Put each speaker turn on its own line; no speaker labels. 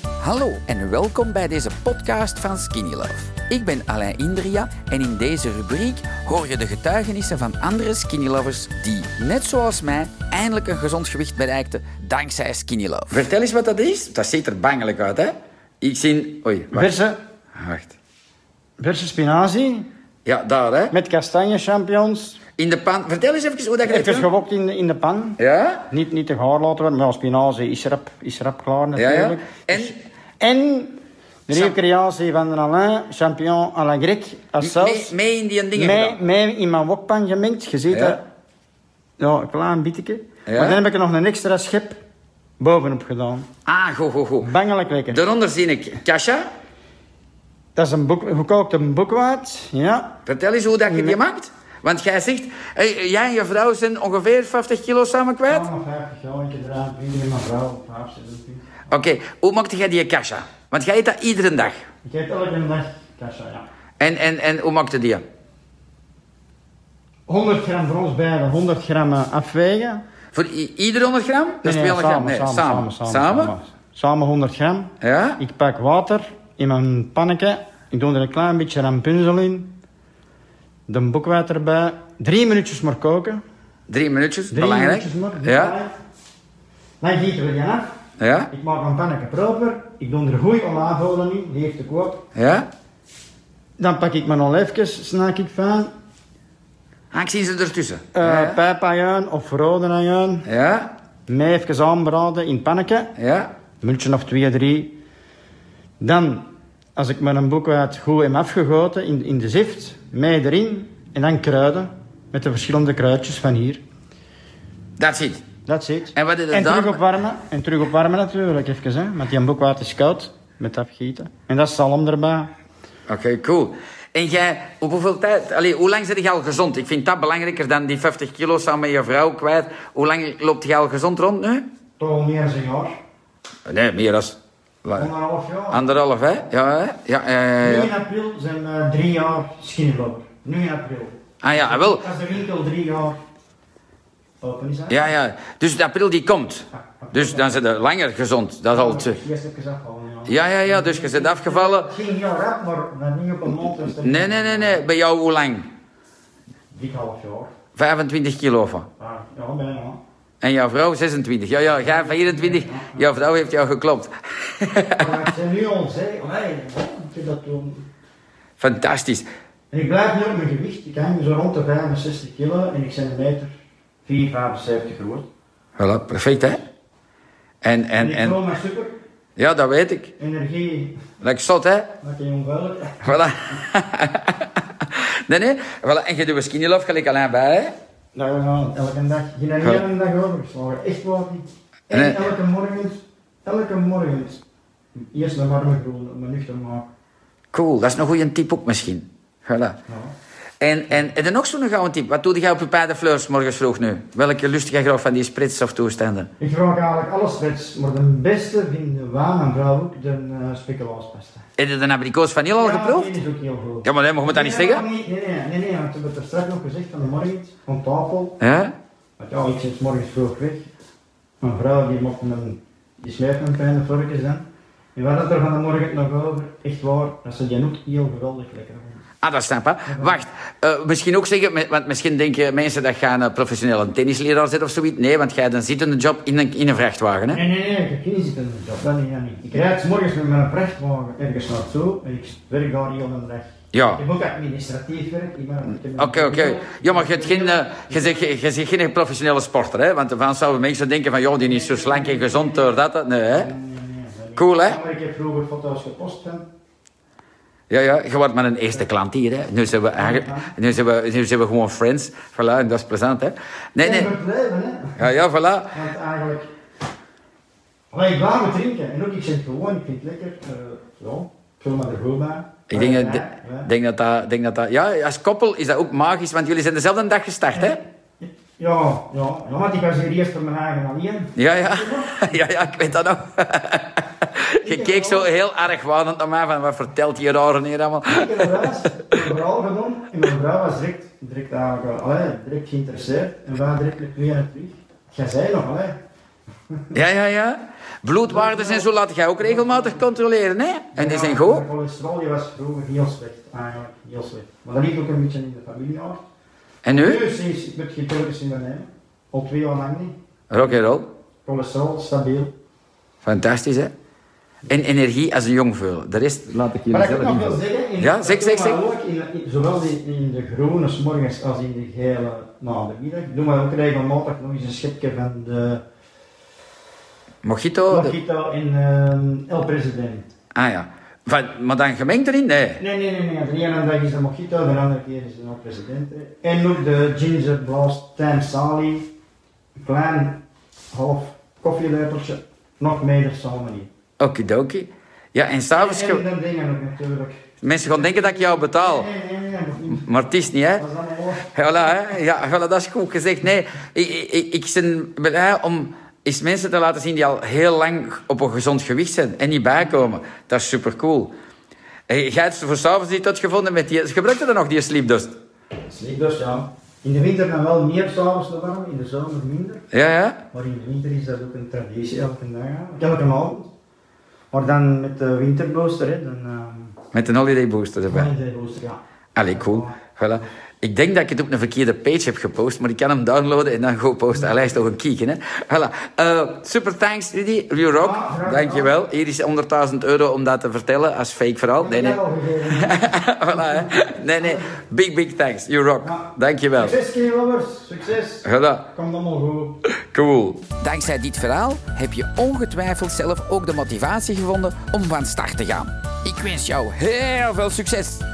Hallo en welkom bij deze podcast van Skinny Love. Ik ben Alain Indria en in deze rubriek hoor je de getuigenissen van andere Skinny Lovers die, net zoals mij, eindelijk een gezond gewicht bereikten dankzij Skinny Love. Vertel eens wat dat is. Dat ziet er bangelijk uit, hè? Ik zie... Oei, wacht.
Verse,
Wacht.
verse spinazie
Ja, daar, hè?
met kastanje champignons.
In de pan... Vertel eens even hoe dat je dat
Even
doet.
gewokt in de, in de pan.
Ja?
Niet, niet te gaar laten worden, maar ja, spinazie is rap, is rap klaar natuurlijk.
En?
Dus- en de nieuwe
Champ-
creatie van de Alain, champignon à la grecque, als
Mee,
saus.
mee in die dingen
Mee-
gedaan.
mee in mijn wokpan gemengd, gezeten.
Ja.
Ja. een klein bietje.
Ja.
Maar dan heb ik er nog een extra schep bovenop gedaan.
Ah, go, go, go.
Bangelijk lekker.
Daaronder zie ik Kasha.
Dat is een boek, gekookt een boekwaard. Ja.
Vertel eens hoe dat je die maakt. Want jij zegt, hey, jij en je vrouw zijn ongeveer 50 kilo samen kwijt.
50 jaar eraan, vrienden, mijn vrouw, 5, 6,
Oké, hoe maakte jij die kasha? Want jij eet dat iedere dag.
Ik eet elke dag kassa, ja.
En, en, en hoe maakte die?
100 gram voor ons beiden, 100 gram eh, afwegen.
Voor i- ieder 100 gram? Dat is
Nee, nee,
200 gram.
samen, samen, samen, samen. Samen 100 gram.
Ja?
Ik pak water in mijn pannetje. Ik doe er een klein beetje rampunzel in. De boekwijd erbij. Drie minuutjes maar koken.
Drie minuutjes,
Drie
belangrijk.
minuutjes maar.
ja?
Dan gieten we die af.
Ja?
Ik maak mijn pannetje proper. Ik doe er goede olijfolie in. Die heeft ik ook.
Ja?
Dan pak ik mijn olijfjes, snak ik fijn.
Ah, ik zie ze ertussen.
Eh
ja?
Pijpajuin of rode ajuin.
Ja?
Mij even aanbraden in het pannetje.
Ja?
Een minuutje of twee, drie. Dan, als ik mijn boekwaard goed heb afgegoten in, in de zift, mij erin en dan kruiden met de verschillende kruidjes van hier.
Dat zit.
Dat zit.
En wat is het
en
dan?
terug opwarmen. En terug opwarmen natuurlijk even, hè, want die boekwaard is koud met afgieten. En dat is zalm erbij.
Oké, cool. En jij, op hoeveel tijd, allee, hoe lang zit je al gezond? Ik vind dat belangrijker dan die 50 kilo samen met je vrouw kwijt. Hoe lang loopt je al gezond rond nu?
Toch al meer dan een jaar.
Nee, meer dan
Anderhalf jaar.
anderhalf, hè? Ja, hè? Ja, ja, Ah, ja,
Nu
ja.
in april zijn eh, drie jaar schinnenloop. Nu in april.
Ah ja, ah, wel.
Als de winkel drie jaar open is. hè.
Ja, ja. Dus de april die komt. Dus dan zit je langer gezond. Dat is al te...
Eerst heb ik gezegd al, ja.
Ja, ja, ja. Dus je zit afgevallen.
Geen heel rap, maar maar niet op een mond. Dus dat-
Nee, nee, nee, nee. Bij jou hoe lang?
Dik half jaar.
25 kilo van.
Ah, ja, bijna.
En jouw vrouw 26. Ja, ja. Jij 24. Jouw vrouw heeft jou geklopt.
Maar ik ben nu al zei, allee, ik heb dat toen.
Fantastisch.
En ik blijf nu op mijn gewicht. Ik hang zo rond de 65 kilo en ik ben een meter 4, 75 groot.
Voilà, perfect, hè? En,
En
en,
ik voel
en...
me super.
Ja, dat weet ik.
Energie,
Lekker zot, hè?
dat je onveilig.
Voilà. nee, nee. Voilà. En je doet een skinny love gelijk alleen bij, hè?
Nou ja, elke dag. Geen
Ja.
hele dag overgeslagen. Echt waar niet. En
Nee.
elke morgen, elke morgen. Eerst een warme groen om me nuchter te maken.
Cool, dat is een goede tip ook misschien. Voilà.
Ja.
En, en, en dan nog zo'n gouden tip. Wat doe jij op je paardenfleurs morgens vroeg nu? Welke lust jij graag van die sprits of toestanden?
Ik vraag eigenlijk alle stress, maar de beste vinden wij, mijn vrouw ook, de uh, speculaaspasta.
Heb je de abrikoos vanille al geproefd?
Ja, die is ook heel goed.
Ja, maar nee, mag je dat niet
Nee,
zeggen?
Nee, nee, nee, nee, nee, want we hebben het er straks nog gezegd van de morgen van tafel.
Ja?
Want ja, ik zit 's morgens vroeg weg. Mijn vrouw die mocht een, die smijt een fijne vorkjes dan. En wat had er van de morgen nog over? Echt waar, dat ze die ook heel geweldig lekker vonden.
Ah, dat snap ik. Wacht, eh, misschien ook zeggen, me- want misschien denken mensen dat gaan een professionele tennisleraar zit of zoiets. Nee, want jij hebt een zittende job in een, in een vrachtwagen, hè?
Nee, nee, nee, ik heb geen zitten in de job, dat niet, dat niet. Ik rijd 's morgens met mijn vrachtwagen ergens naartoe en ik werk daar heel de dag.
Ja.
Ik heb ook administratief werk. ik ben- ik heb een-
Oh. Oké, oké. Ja, maar je, hebt geen, eh, je, zegt, je zegt geen professionele sporter, hè? Want dan zouden mensen denken van, joh, die is zo slank en gezond door dat. dat. Nee, hè?
Nee, nee, nee, dat niet.
Cool, hè?
Ja, maar ik heb vroeger foto's gepost. hè.
Ja, ja, je wordt maar een eerste klant hier, hè. Nu zijn we, eigenlijk- nu zijn we, nu zijn we gewoon friends. Voilà, en dat is plezant, hè. Nee, nee.
En voor het leven, hè.
Ja, ja, voilà.
Want eigenlijk... Allee, ik wou het drinken. En ook, ik zeg het gewoon, ik vind het lekker. eh, ja, ik voel me er goed bij. Eh,
Ik denk,
Ja,
dat-
ja.
denk, dat, dat, denk dat dat... Ja, als koppel is dat ook magisch, want jullie zijn dezelfde dag gestart, hè?
Ja, ja, ja, want ik was hier eerst voor mijn eigen alleen.
Ja, ja. Ja, ja, ik weet dat nog. Je keek zo heel erg wanend naar mij, van wat vertelt die rare hier allemaal?
Ik heb wel eens een verhaal gedaan en mijn vrouw was direct, direct, eigenlijk, eh, allee, direct geïnteresseerd en wij direct weer en terug. Jij zei nog, allee.
Ja, ja, ja. Bloedwaarden en zo laat jij ook regelmatig controleren, hè? En die zijn goed.
De cholesterol die was vroeger heel slecht, Ah, eigenlijk. Heel slecht. Maar dat ligt ook een beetje in de familie hoor.
En nu?
Nu sinds ik met geen in de nemen. Al twee jaar lang niet.
Rock and roll.
Cholesterol stabiel.
Fantastisch, hè? En energie als een jongvul. De rest...
Laat ik
Maar
jullie
ik
zelf
nog wil
invullen.
zeggen, in,
Ja, zeg, zeg, zeg.
maar ook in, in- zowel in, in de groene 's morgens als in de gele na de middag, doen we ook regelmatig nog eens een schepje van de
Mojito? Oh, de-
Mojito en ehm, El President.
Ah ja. Van, maar dan gemengd erin? Nee.
Nee, nee, nee, nee. De ene dag is de Mojito, de andere keer is de El President. En ook de Ginger Blast Tam Sali. Een klein half koffielepeltje, nog meer samen niet.
Okidoki. Ja, en s'avonds...
En
ge-
dat dingen ook natuurlijk.
Mensen gaan denken dat ik jou betaal.
Nee, nee, nee, nee, nog niet.
Maar het is niet, hè?
Dat is allemaal hoor.
Voilà, hè? Ja, voilà, dat is goed gezegd. Nee, ik, ik, ik ben blij om eens mensen te laten zien die al heel lang op een gezond gewicht zijn en niet bijkomen. Dat is supercool. Hey, Jij hebt ze voor s'avonds niet tot gevonden met die... Ze gebruikten dan nog die sleepdust?
Sleepdust, ja. In de winter dan wel meer s'avonds te warm, in de zomer minder.
Ja, ja.
Maar in de winter is dat ook een traditie elke dag. ja. Elke avond. Maar dan met de winterbooster, hè, dan... ehm,
Met een holiday booster erbij.
Holidaybooster, ja.
Allee, cool. Voilà. Ik denk dat ik het op een verkeerde page heb gepost, maar ik kan hem downloaden en dan gewoon posten. Allee, is toch een kieken, hè? Voilà. Eh, super thanks, Rudy. You rock.
Ah, graag gedaan.
Dankjewel. Hier is 100.000 euro om dat te vertellen als fake verhaal. Nee, nee.
Ik heb al gegeven.
voilà, hè. Nee, nee. Big, big thanks. You rock.
Ja.
Dankjewel.
Succes, Kilovers. Succes.
Voilà.
Komt allemaal goed.
Cool. Dankzij dit verhaal heb je ongetwijfeld zelf ook de motivatie gevonden om van start te gaan. Ik wens jou heel veel succes.